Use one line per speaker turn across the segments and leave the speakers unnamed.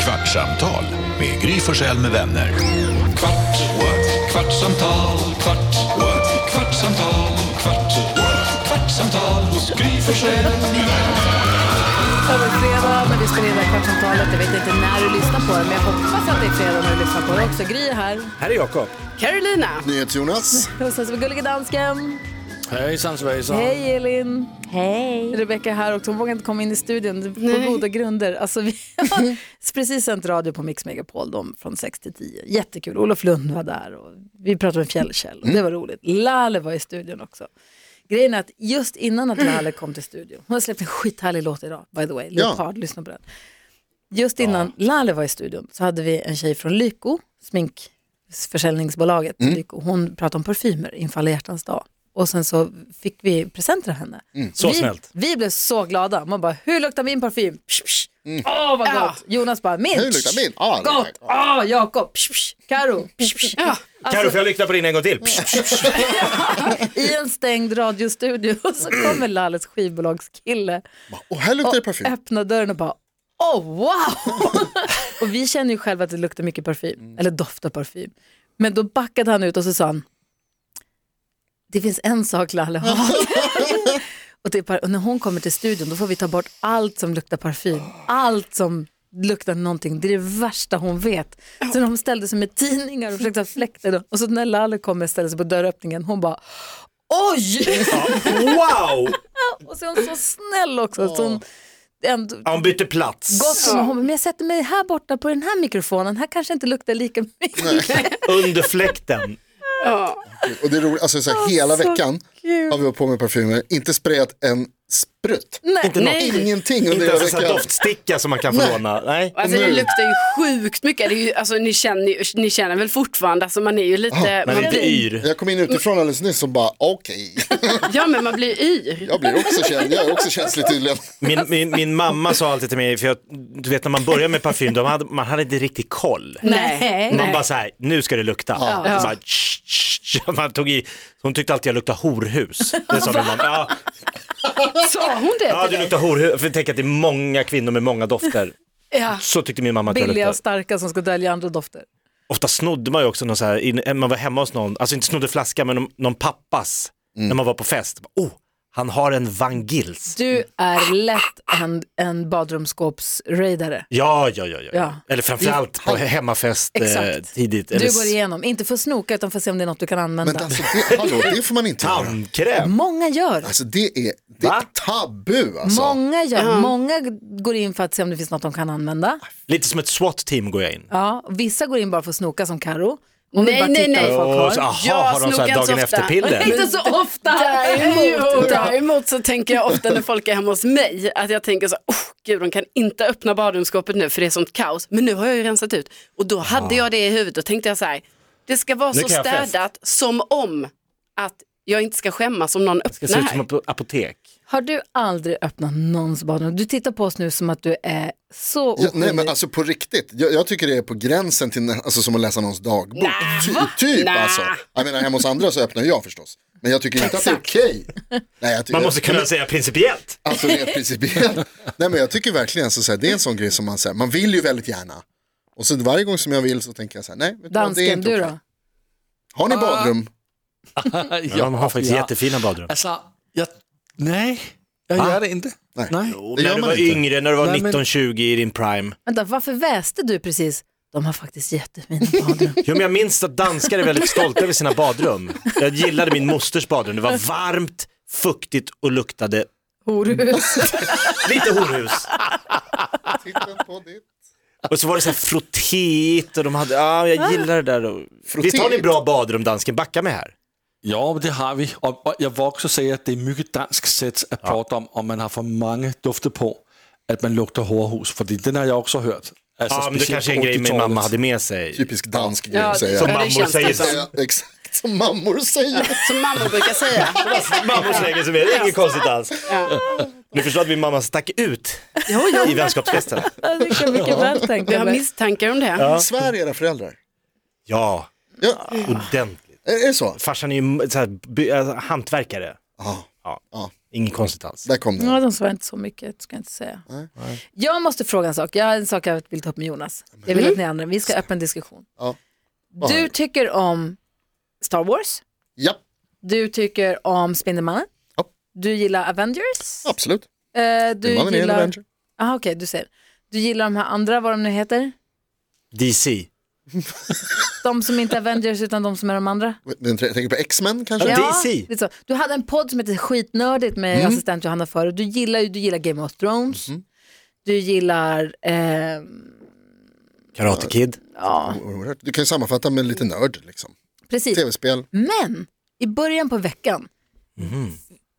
Kvartsamtal med Gry Forssell med vänner. Kvart, what? kvartsamtal, kvart, what? kvartsamtal, kvart, what? kvartsamtal, Gry Forssell med vänner.
Det är fredag, men vi ska reda kvartsamtalet. Jag vet inte när du lyssnar på det, men jag hoppas att det är fredag när du lyssnar på det också. Gry är här.
Här är Jakob.
Carolina.
NyhetsJonas.
Och sen så har vi Gullige Dansken.
Hejsan svejsan.
Hej Elin.
Hej.
Rebecka är här och hon vågar inte komma in i studion på goda grunder. Alltså, vi har precis sänt radio på Mix Megapol de, från 6 till 10. Jättekul. Olof Lund var där och vi pratade med Fjällkäll. och Det var roligt. Lale var i studion också. Grejen är att just innan att Lale kom till studion, hon har släppt en skithärlig låt idag, by the way, Leopard, lyssna på den. Just innan Lale var i studion så hade vi en tjej från Lyko, sminkförsäljningsbolaget
Mm.
Lyko. Hon pratade om parfymer inför alla hjärtans dag. Och sen så fick vi presenter av henne.
Mm.
Så
vi,
snällt.
Vi blev så glada. Man bara, hur luktar min parfym? Psh, psh. Åh vad gott! Jonas bara, min!
Mm. Hur luktar min? Ja, det Ah.
Gott! Åh, Jakob! Psh, psh. Karo. Psh, psh. Alltså,
Carro, får jag lykta på din en gång till? Psh, psh, psh.
I en stängd radiostudio och så kommer Lalles skivbolagskille
Och här luktar det
och
parfym.
öppnar dörren och bara Åh oh, wow! och vi känner ju själva att det luktar mycket parfym, eller doftar parfym. Men då backade han ut och så sa han, det finns en sak Lalle har. och, det är par- och när hon kommer till studion då får vi ta bort allt som luktar parfym, allt som luktar någonting, det är det värsta hon vet. Så de ställde sig med tidningar och försökte ha fläkter och så när Lalle kommer och ställer sig på dörröppningen, hon bara oj!
Wow!
och så är hon så snäll också. Så hon, ändå,
Ja, Hon byter plats.
gott om honom. Men jag sätter mig här borta på den här mikrofonen. Här kanske inte luktar lika mycket.
Under fläkten.
Och det är roligt, alltså så här, hela
så
veckan
kul.
har vi hållit på med parfymer, inte sprayat en sprutt.
Nej, nej.
Ingenting under
Inte
hela
ens en sån här
veckan.
doftsticka som man kan få låna. Nej.
Alltså
Och
det
nu?
luktar ju sjukt mycket. Det är ju, alltså, ni, känner, ju- ni känner väl fortfarande, alltså, man är ju lite,
Man är lite
blir,
yr.
Jag kom in utifrån alldeles nyss och bara okej,
ja men man blir yr.
jag blir också känd, jag är också känslig tydligen.
Min, min, min mamma sa alltid till mig, för jag, du vet när man börjar med parfym, de hade, man hade inte riktigt koll.
Nej.
Man bara så här, nu ska det lukta. Så bara, tsch, tsch, tsch. man tog i, hon tyckte alltid jag luktade horhus. Det sa min mamma. Ja,
Sa hon det
ja
till
du
dig?
luktar horhus. För tänk att det är många kvinnor med många dofter.
Ja.
Så tyckte min mamma att jag
Billiga
luktade.
och starka som ska dölja andra dofter.
ofta snodde man ju också någon så här, in- eh, man var hemma hos någon, alltså inte snodde flaska men någon, någon pappas när man var på fest. Oh, han har en Vangils.
Du är lätt en, en badrumsskåpsraidare.
Ja, ja, ja, ja.
Ja.
ja. Eller framförallt på hemmafest eh,
Exakt.
tidigt. Eller
Du går igenom, inte för att snoka utan för att se om det är något du kan använda.
Men alltså det, hallå, det får man inte göra.
tandkräm.
Många gör.
Alltså det är, det
Va?
är tabu alltså.
Många gör, många går in för att se om det finns något de kan använda.
Lite som ett SWAT-team går jag in.
Ja, vissa går in bara för att snoka som Karo. Hon vill
Nej,
bara
nej,
titta
nej.
vad folk
Och så,
har.
aha,
Jag
har de så här
snokar inte
dagen
så ofta.
efter-piller?
Inte så ofta.
Däremot, däremot så tänker jag ofta när folk är hemma hos mig att jag tänker så oh, gud de kan inte öppna badrumsskåpet nu för det är sånt kaos. Men nu har jag ju rensat ut och då hade jag det i huvudet och tänkte jag så här, det ska vara
Nu
så
kan jag fest.
städat som om att jag inte ska skämmas om någon
Det ser
öppnar
ut som
här.
ett apotek.
Har du aldrig öppnat någons badrum? Du tittar på oss nu som att du är så
Ja, nej
oskyldig.
men alltså på riktigt, jag, jag tycker det är på gränsen till nä- alltså, som att läsa någons dagbok. Ty, typ
Nah.
alltså. Jag menar hemma hos andra så öppnar jag förstås. Men jag tycker inte att det är okej. Nej, jag tycker-
Man måste kunna säga principiellt.
Alltså rent principiellt. Nej men jag tycker verkligen så, så här, det är en sån grej som man säger, man vill ju väldigt gärna. Och så varje gång som jag vill så tänker jag så här, nej, vet du vad, det är
Dansken,
inte
du
okej.
då?
Har
Ah.
ni badrum?
Ja, de har faktiskt
ja.
jättefina badrum.
Alltså, jag, nej, jag gör det inte.
Nej.
Nej.
när
det gör
du
man
var
inte.
yngre, när du var
Nej, men-
19-20 i din prime.
Vänta, varför väste du precis? De har faktiskt jättefina badrum.
Jo, men jag minns att danskar är väldigt stolta över sina badrum. Jag gillade min mosters badrum. Det var varmt, fuktigt och luktade
Horhus.
lite horhus.
Titta på ditt.
Och så var det så här frottéigt och de hade, ja ah, jag gillar det där. Och... Visst har ni
Frottéigt?
bra badrum dansken, backa med här.
Ja, men det har vi. Och, och jag vågar säga att det är mycket danskt sätt
Ah.
att prata om om man har för många dofter på att man luktar hårhus, för det den har jag också hört. Alltså,
Ja, Ah, men det
speciellt
kanske är en
på
grej min
80-talet.
mamma hade med sig.
Typisk dansk grej
Ja,
att säga.
Som
det
mammor
känns
säger.
det som.
så-
Ja, Exakt, som mammor säger.
Som mamma brukar säga.
Mammor slänger sig med, det är inget konstigt alls. Ni förstår att min mamma stack ut i vänskapsfesten.
det kan jag mycket väl
Vi
tänka
har
mig.
misstankar om det.
Svär era föräldrar.
Ja,
Ja,
ordentligt.
är är det så?
Farsan är ju så här, by- alltså, äh, hantverkare.
Ja.
Ja.
ja.
Inget konstigt alls.
Där kom
Ja,
den.
de svarar inte så mycket, ska jag inte säga. Jag måste fråga en sak. Jag har en sak jag vill ta upp med Jonas. Jag vill att ni andra, vi ska ha öppen diskussion.
Ja.
Du tycker om Star Wars,
Ja,
du tycker om Spindelmannen,
Ja.
du gillar Avengers,
absolut.
eh,
Min man är
du
en
gillar...
Avenger.
Aha, okej, du säger. Du gillar de här andra, vad de nu heter?
DC.
De som inte är Avengers utan de som är de andra?
Den tre- Jag tänker på X-Men kanske?
Ja. DC.
lite så. Du hade en podd som hette Skitnördigt med
Mm.
assistent Johanna förut. Du gillar ju du gillar Game of Thrones. Du gillar, eh,
Karate Kid.
Oerhört. Du kan ju sammanfatta med lite nörd liksom.
precis.
Tv-spel.
Men i början på veckan
Mhm.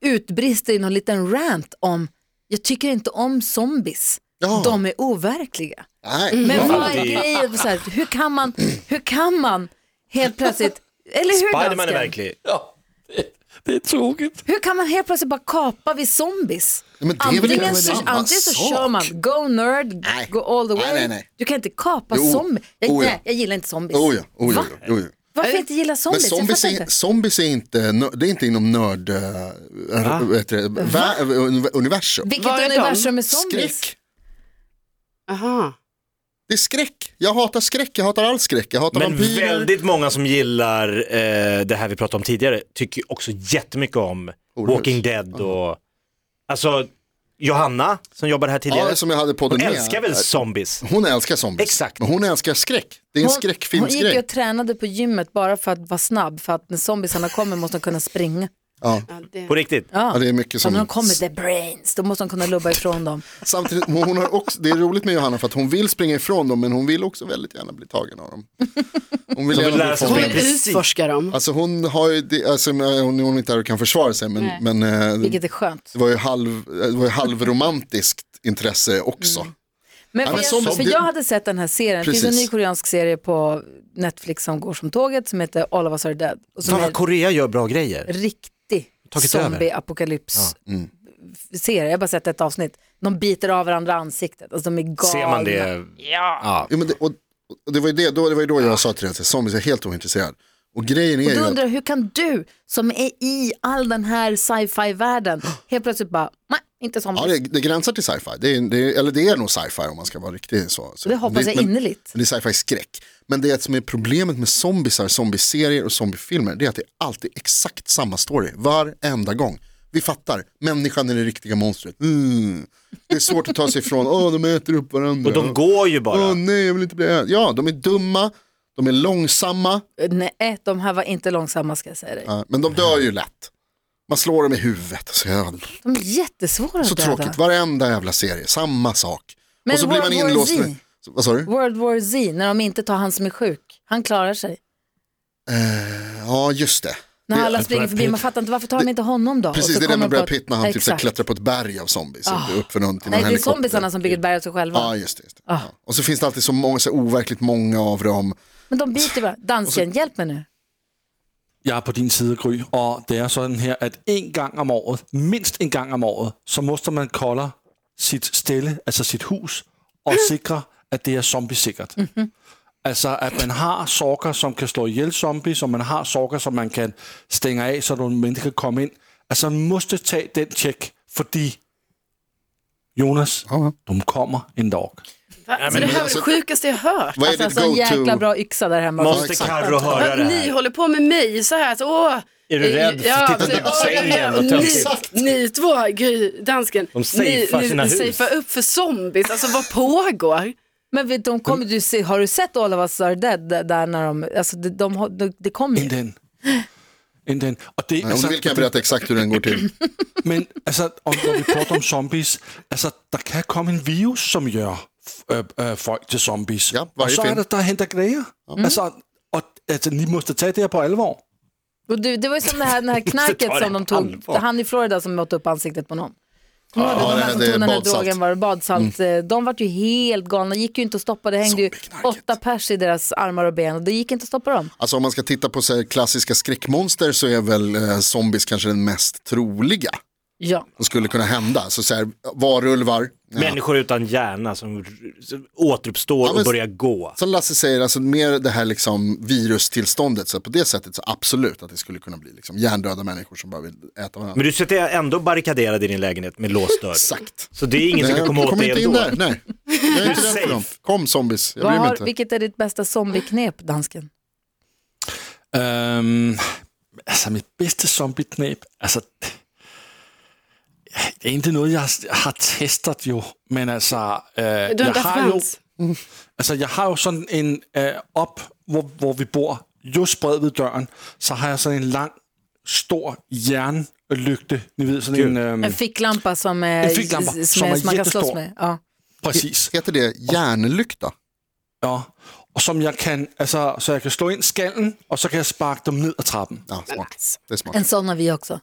utbrister i någon liten rant om jag tycker inte om zombies.
Ja.
De är overkliga.
Nej.
Men
Ja.
vad är
det-
grejen? Så här, hur, kan man, hur kan man helt plötsligt, eller hur
Spiderman är
dansken?
verklig.
Ja, det, det är tråkigt.
Hur kan man helt plötsligt bara kapa vid zombies?
Ja, men det är väl
antingen,
kanske
så,
samma
antingen så
sak.
kör man go nerd,
Nej.
go all the way.
Nej, nej, nej.
Du kan inte kapa
Jo.
zombies. Jag,
Oh, ja.
nej, jag gillar inte zombies.
Oh ja, oh ja,
Va?
jo, jo.
Eh,
Varför inte gilla
Men
zombies? jag
zombies
fattar inte.
är, zombies är inte, nö- det är inte inom nörd, eh,
Ah.
vad heter det? Vä- uni- universum.
Vilket
Vad är de?
universum är zombies?
Skräck.
Aha.
Det är skräck. Jag hatar skräck, jag hatar all skräck. Jag hatar
Men
vampyrer.
väldigt många som gillar eh, det här vi pratade om tidigare tycker ju också jättemycket om
Horhus.
Walking Dead och alltså Johanna som jobbade här tidigare.
Ja, som jag hade podden
hon
med.
älskar väl zombies?
Hon älskar zombies.
Exakt.
Men hon älskar skräck. Det är en
Hon, hon gick ju
skräckfilmsgrej.
och tränade på gymmet bara för att vara snabb, för att när zombiesarna kommer måste de kunna springa.
Ja, det...
På riktigt?
Ja, det är mycket
Så när de
som...
kommer, the brains, då måste de kunna lubba ifrån dem.
Samtidigt, men hon har också, det är roligt med Johanna för att hon vill springa ifrån dem men hon vill också väldigt gärna bli tagen av dem. Hon vill, gärna
lära
bli
sig
Hon
fångad.
springa.
vill
Precis.
utforska dem.
Alltså hon har ju, det- alltså, hon, hon är inte här och kan försvara sig men, men eh,
Vilket är skönt.
det var ju, halv, eh, det var ju halvromantiskt intresse också.
Men
Ja,
för,
men
jag,
zombies-
för jag hade sett den här serien, det finns en
Precis.
ny koreansk serie på Netflix som går som tåget som heter All of us are dead. Och som
Fan
är
vad Korea gör bra grejer.
riktig
Tagit över.
zombie-apokalyps-serie. Jag har bara sett ett avsnitt. De biter av varandra ansiktet. Alltså de är galna.
Ser man det? Ja.
Ja, men det, och, och det, var ju det, då, det var ju då jag sa till dig att zombies är helt ointresserad. Och grejen är
Och
ju
då
att
undrar jag, hur kan du som är i all den här sci-fi-världen helt plötsligt bara, nej, inte
Ja,
zombies.
det, det gränsar till sci-fi. Det är, det är, eller det är nog sci-fi om man ska vara riktig så. så
Det hoppas jag
men-
innerligt.
men Det är sci-fi skräck. Men det som är problemet med zombiesar, zombieserier och zombiefilmer det är att det är alltid exakt samma story varenda gång. Vi fattar, människan är det riktiga monstret. Mm. Det är svårt att ta sig ifrån, åh de äter upp varandra.
Och de går ju
Åh
bara.
nej, jag vill inte bli äten. Ja, de är dumma, de är långsamma,
Nej, de här var inte långsamma ska jag säga dig.
ja, men de dör ju lätt. Man slår dem i huvudet. Så, ja,
De är jättesvåra
så
att döda.
tråkigt, varenda jävla serie, samma sak.
Men
och så blir man
World War
inlåst.
Z? Mm.
med- Så- Vad sa du?
World War Z, när de inte tar han som är sjuk. Han klarar sig.
Ja, just det.
När alla springer
Brad
förbi,
Pitt.
man fattar inte varför tar de inte honom då? Och
Precis,
så
det är det
kommer
med
de på
Brad
att-
Pitt när han typ så här
Exakt. Ah.
klättrar på ett berg av zombies. Oh. Upp för någon, till någon
Nej, det är
helikopter.
zombiesarna som Ah. bygger ett berg åt sig själva.
Ja, just det. Just det. Ja. Och så finns det alltid så många, så här overkligt många av dem.
Men de biter bara. Dansken, hjälp mig nu.
Jeg er på din side, Gry, og det er sådan her, at en gang om året, mindst en gang om året, så måste man kolde sit stille, altså sit hus, og sikre, at det er zombiesikkert. Altså, at man har sokker, som kan slå ihjel zombies, og man har sokker, som man kan stænge af, så nogle mennesker kan komme ind. Altså, man måste tage den tjek, fordi Jonas, de kommer en dag.
Alltså, det här var det sjukaste jag hört.
Vad är
Alltså, en
ditt
jäkla
go-to?
bra yxa där hemma.
Ja,
Måste
exakt.
Carro höra det
Ni
här?
håller på med mig så här. Så, åh,
Är du rädd?
Ja, alltså,
Tittar du på
åh,
sängen och
ni,
tömt?
ni två, Gry, dansken,
De safear
ni,
sina
ni
hus.
safear upp för zombies. Alltså vad pågår?
Men vet, de kommer, du, se- har du sett All of us are dead? Där där när de, alltså, de, de, har- de, det kommer ju.
Inden. Inden. Og det,
Om du vill kan jeg berätta exakt hur den går till.
Men altså, om, når vi prater om zombies, altså, der kan komme en virus, som gør øh, øh, folk til zombies.
Ja, hvor er
og
det
så er
fint.
det, der henter græger. Altså, og altså, ni måste tage det her på alvor.
Och du, det var ju som det här, det här knarket
Ta det
som de tog,
allvar.
han i Florida som åt upp ansiktet på någon. Kommer du ihåg
Ja,
det? de
det-
här som
det är
tog den här
badsalt. Mm.
drogen, var det badsalt, eh, de vart ju helt galna, gick ju inte att stoppa, det hängde ju åtta pers i deras armar och ben och det gick inte att stoppa dem.
Alltså om man ska titta på så här, klassiska skräckmonster så är väl eh, zombies kanske den mest troliga.
Ja.
som skulle kunna hända. Så, så här, varulvar. Ja.
Människor utan hjärna som r- som återuppstår
men-
och börjar gå.
Som Lasse säger, alltså mer det här liksom virustillståndet, så på det sättet så absolut att det skulle kunna bli liksom hjärndöda människor som bara vill äta varandra.
Men du sitter ändå barrikaderad i din lägenhet med låst dörr.
Exakt.
Så det är ingen som
Nej,
kan komma
jag
åt
kommer
dig
inte in
ändå.
där, nej. Jag är inte rädd för dem.
safe.
Kom zombies, jag
Vad
bryr mig
har,
inte. Mm.
vilket är ditt bästa zombieknep, dansken?
Øhm, altså mit bedste zombie-knæb, altså, det er ikke noget, jeg har testet jo, men altså,
Du
øh,
har
jeg,
inte
har
haft
jo,
chans.
altså jeg har jo sådan en, øh, op hvor, hvor vi bor, just bred ved døren, så har jeg sådan en lang, stor jernlygte, ni ved, sådan en, øh, øhm,
En ficklampa som, är,
En ficklampa
som,
som är
som man kan slåss
jättestor.
med. Ja.
præcis.
Heter det hjärnlykta?
Ja. Og som jeg kan, altså, så jeg kan slå ind skallen, og så kan jeg sparke dem ned ad trappen.
Ja, smart. Det är smart.
En sån har vi också.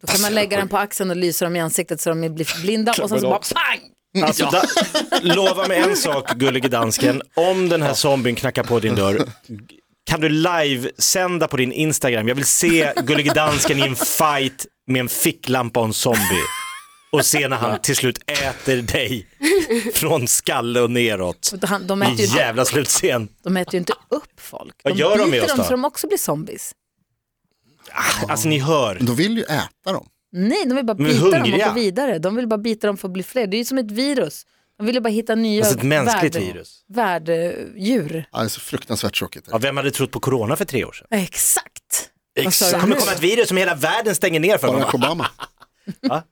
Då kan
Alltså,
man lägga den på axeln och lysa dem i ansiktet så de blir blinda och sen så bara pang!
Alltså, da, lova mig en sak, gullige dansken. Om den här zombien knackar på din dörr, kan du livesända på din Instagram? Jag vill se gullige dansken i en fight med en ficklampa och en zombie. Och se när han till slut äter dig från skalle och neråt.
Och han- De
I
äter, ju,
jävla slutscen.
de äter ju inte upp folk. De
Vad gör de med
biter
oss
dem
då?
så de också blir zombies.
Alltså ni hör.
Men de vill ju äta dem.
Nej, de vill bara
Men
bita dem och
hungriga.
gå vidare. De vill bara bita dem för att bli fler. Det är ju som ett virus. De vill ju bara hitta nya
Alltså ett mänskligt
värd-
virus.
värddjur.
Ja, det är så fruktansvärt tråkigt.
Ja, vem hade trott på corona för tre år sedan?
Exakt. Vad sa du
Det kommer
nu?
komma ett virus som hela världen stänger ner för. Va?
Barack Obama.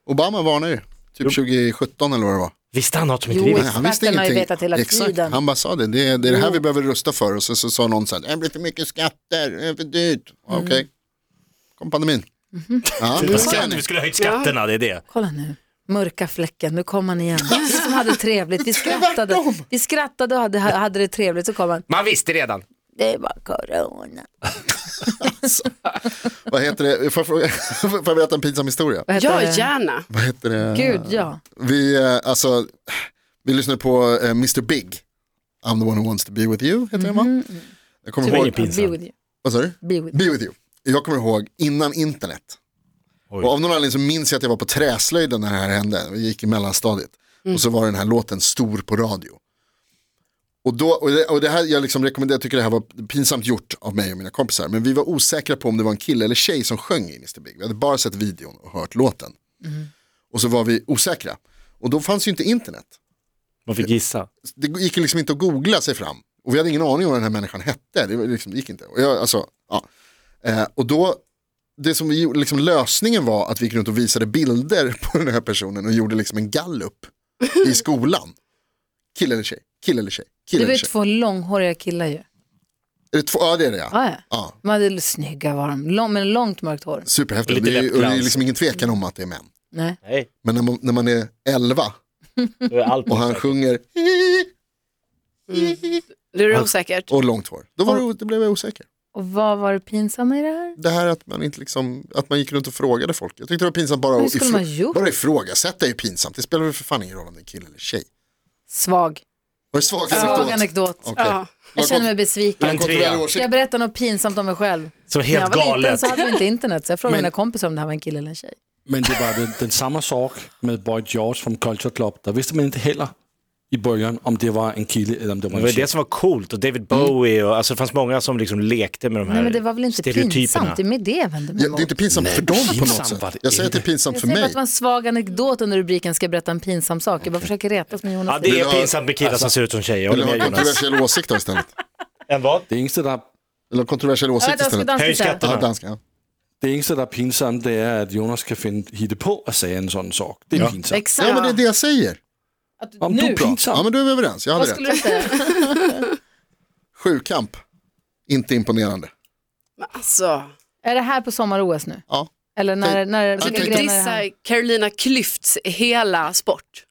Obama varnar ju, typ 2017 eller vad det var.
Visste han något som inte
Jo,
vi
Nej,
visste?
han visste
Experterna har ju
ingenting.
vetat hela
Exakt.
tiden. Mm.
Han bara sa det, det är det, är det här vi behöver rusta för. Och så, så sa någon så här, det blir för mycket skatter, det är för dyrt. Ja,
Mm.
Okej, kom pandemin.
Mm-hmm.
Ja,
Vad
det ser
skatt-
ni.
Vi skulle ha höjt skatterna, det är det.
Kolla nu, mörka fläcken, nu kom han igen. Vi som hade trevligt, vi skrattade, vi skrattade och hade, hade det trevligt, så kom han.
Man visste redan.
Det var corona.
Vad heter det, får jag, fråga- får jag berätta en pinsam historia?
Vad heter
Ja,
det?
gärna.
Vad heter det?
Gud, ja.
Vi, eh, alltså, vi lyssnade på eh, Mr Big, I'm the one who wants to be with you, heter den va?
Mm-hmm.
Jag kommer
Tyvärr.
ihåg,
Be
Pinsamt.
with you.
vad sa du?
Be with you.
Be with you. Jag kommer ihåg innan internet.
Oj.
Och av någon anledning så minns jag att jag var på träslöjden när det här hände. Vi gick i mellanstadiet.
Mm.
Och så var den här låten stor på radio. Och, då, och, det, och det här, jag liksom rekommenderar, jag tycker det här var pinsamt gjort av mig och mina kompisar. Men vi var osäkra på om det var en kille eller tjej som sjöng i Mr Big. Vi hade bara sett videon och hört låten.
Mm.
Och så var vi osäkra. Och då fanns ju inte internet.
Man fick gissa.
Det gick ju liksom inte att googla sig fram. Och vi hade ingen aning om vad den här människan hette. Det, var liksom, det gick inte. Och, jag, alltså, ja. eh, och då, det som vi gjorde, liksom lösningen var att vi gick runt och visade bilder på den här personen och gjorde liksom en gallup i skolan. Kille eller tjej, kille eller tjej, kille
Det var
eller
ju
tjej.
tvång långhåriga killar ju.
Är det två? Ja det är det ja.
Ja, ja.
ja.
De hade snygga var de, lång, men långt mörkt hår.
Superhäftigt.
Och lite
Det är, ju- och det är
läppglans.
liksom ingen tvekan om att det är män.
Nej.
Nej,
Men när man, när man är 11
det var allt.
och han
Mm.
sjunger
Det är osäkert.
och långt hår, då var det, det blev jag osäker.
Och vad var det pinsamma i det här?
det här att man inte liksom, att man gick runt och frågade folk. Jag tyckte det var pinsamt bara
Hur
att
skulle man ha gjort?
bara ifrågasätta är ju pinsamt. Det spelar väl för fan ingen roll om det är kille eller tjej.
Svag.
Var det svag
Svag
anekdot?
anekdot.
Okej.
Ja.
Jag känner mig
En
besviken.
trea.
Kontrollera
Ska jag
åsikt.
berätta något pinsamt om mig själv?
Som
När
helt
jag var liten
galet.
så hade vi inte internet, så jag frågade
Men-
mina kompisar om det här var en kille eller en tjej.
Men det var den, den samme sorg med Boy George fra Culture Club. Der vidste man ikke heller i bølgen, om det var en kilde eller om det var
Det
en
var ju
tjej.
det som var coolt och David Bowie och alltså det fanns många som liksom lekte med de här
Mm. Nej men det var väl inte
stereotyperna.
pinsamt, det är med det jag vänder mig
Ja, det är
emot.
inte pinsamt för dem på något
pinsamt var
sätt.
det
Jag säger att det är
inte.
pinsamt
Jag
för
säger bara att
mig.
det var en svag anekdot under rubriken ska jag berätta en pinsam sak. Jag bara försöker retas med Jonas.
Ja det
Vill du
är
ha-
pinsamt med killar
alltså-
som ser ut som tjejer, jag
Eller
håller
ha
med
en
Jonas.
kontroversiell åsikt då istället.
En vad?
Det eneste, der er,
Eller ha kontroversiell
Ja,
åsikt
vänta, jag ska
istället.
dansa
Höj
lite.
skatten.
Ja, danska. Ja.
det eneste, der er pinsomt, det er, at Jonas kan finde hitte på at sige en sådan sorg. Det er ja. pinsomt.
Exakt.
ja, men det är det jag säger.
Om du er pinsom.
Ja, men då är vi överens. Jag
Vad
hade
skulle du
rätt.
säga?
Sjukamp. Inte imponerande.
Men alltså,
Är det här på sommar-OS nu?
Ja,
Eller när, när,
Jag
du
vilka
tänkte-
grenar är det här?
dissar Carolina Klüfts hela sport.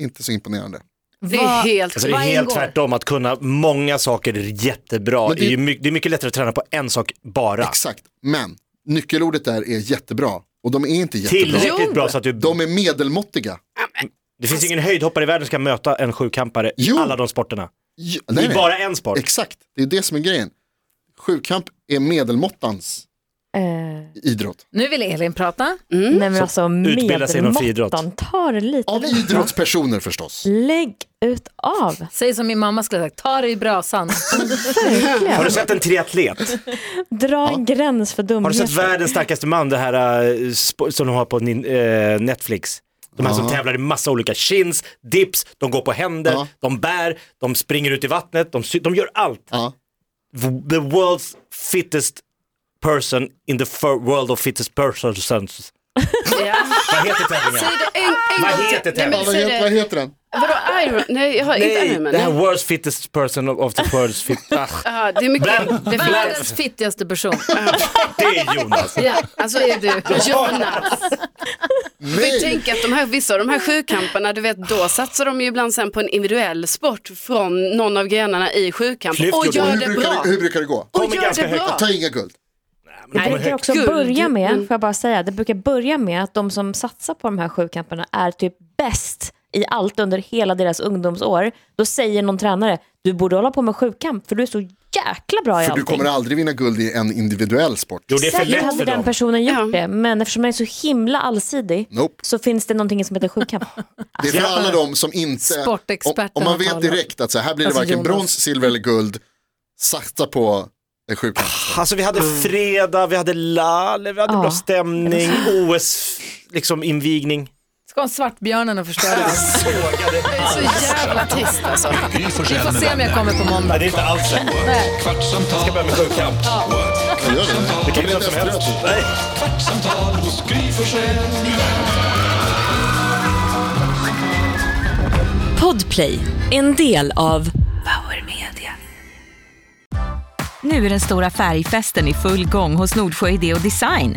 inte så imponerande.
Det är helt
Alltså det är
Vad
helt
ingår?
tvärtom, att kunna många saker jättebra.
Men
Det...
det-
Är ju mycket, det är mycket lättare att träna på en sak bara.
Exakt, men nyckelordet där är jättebra. Och de är inte jättebra.
Tillräckligt bra så att du...
De är medelmåttiga.
Det finns ingen höjdhoppare i världen som kan möta en sjukampare i
Jo.
alla de sporterna.
Ja,
Det
nej,
är
nej.
bara en sport.
Exakt, det är det som är grejen. Sjukamp är medelmåttans
Eh,
Idrott.
Nu vill Elin prata.
nej men alltså
utbilda sig inom friidrott.
medelmåttan tar det lite.
Av
lätt, va?
idrottspersoner förstås.
Lägg ut av.
Säg som min mamma skulle ha sagt, ta dig i brasan.
Har
Verkligen.
du sett en triatlet?
Dra en gräns för
Har du
dumheter.
sett världens starkaste man, det här eh, sp- som de har på nin- eh, Netflix? De här som tävlar i massa olika chins, dips, de går på händer,
Ja.
de bär, de springer ut i vattnet, de, sy- de gör allt.
Ja.
V- The world's fittest person in the fir- world of fittest persons.
Ja.
Vad heter tävlingen?
Säg det en, en
Vad
gång
heter
till. Nej, men
Ja, vad,
säg
heter, vad
det.
heter den?
Vadå Iron? Nej, jag har inte
Nej,
Iron Man.
det här
Nej.
world's fittest person of, of the world's fittest. Ah,
Ja, det är mycket.
Bland-
Det är
bland-
Världens fittigaste person.
det är Jonas.
Ja,
Alltså är du Jonas. För
Nej,
tänk att de här, vissa av de här sjukamparna, du vet, då satsar de ju ibland sen på en individuell sport från någon av grenarna i sjukamp och
Lyft,
gör
hur
det
brukar,
bra.
det, hur brukar det gå?
Och
Kommer
gör
ganska
det
högt.
bra.
Ta inga guld.
Det
Nej,
brukar också
gud.
börja med,
Mm.
får jag bara säga, det brukar börja med att de som satsar på de här sjukamperna är typ bäst i allt under hela deras ungdomsår. Då säger någon tränare, du borde hålla på med sjukamp för du är så jäkla bra i
För du
allting.
kommer aldrig vinna guld i en individuell sport.
Jo, det är för
Säkert
lätt
hade
för
den
dem.
personen gjort
Ja.
det, men eftersom den är så himla allsidig
Nope.
så finns det någonting som heter sjukamp.
Det är för alla de som inte...
Sportexperten
Om, om man vet
har talat.
direkt att så här, här blir det
Alltså,
varken
Jonas.
brons, silver eller guld. Satsa på en sjukdom.
Alltså vi hade
Mm.
fredag, vi hade lall, vi hade
Ja.
bra stämning, OS, liksom invigning.
Ska om svartbjörnen och förstöra det.
Det är så jävla trist alltså.
Gry
Vi
Forssell
får
med
se om jag
vänner.
kommer på måndag.
det är inte alls rätt.
Kvartsamtal,
börja med sjukkamp.
kvartsamtal,
Det kan bli något som helst. Nej.
kvartsamtal hos Gry Forssell med vänner.
Podplay, en del av Power Media. Nu är den stora färgfesten i full gång hos Nordsjö Idé och Design.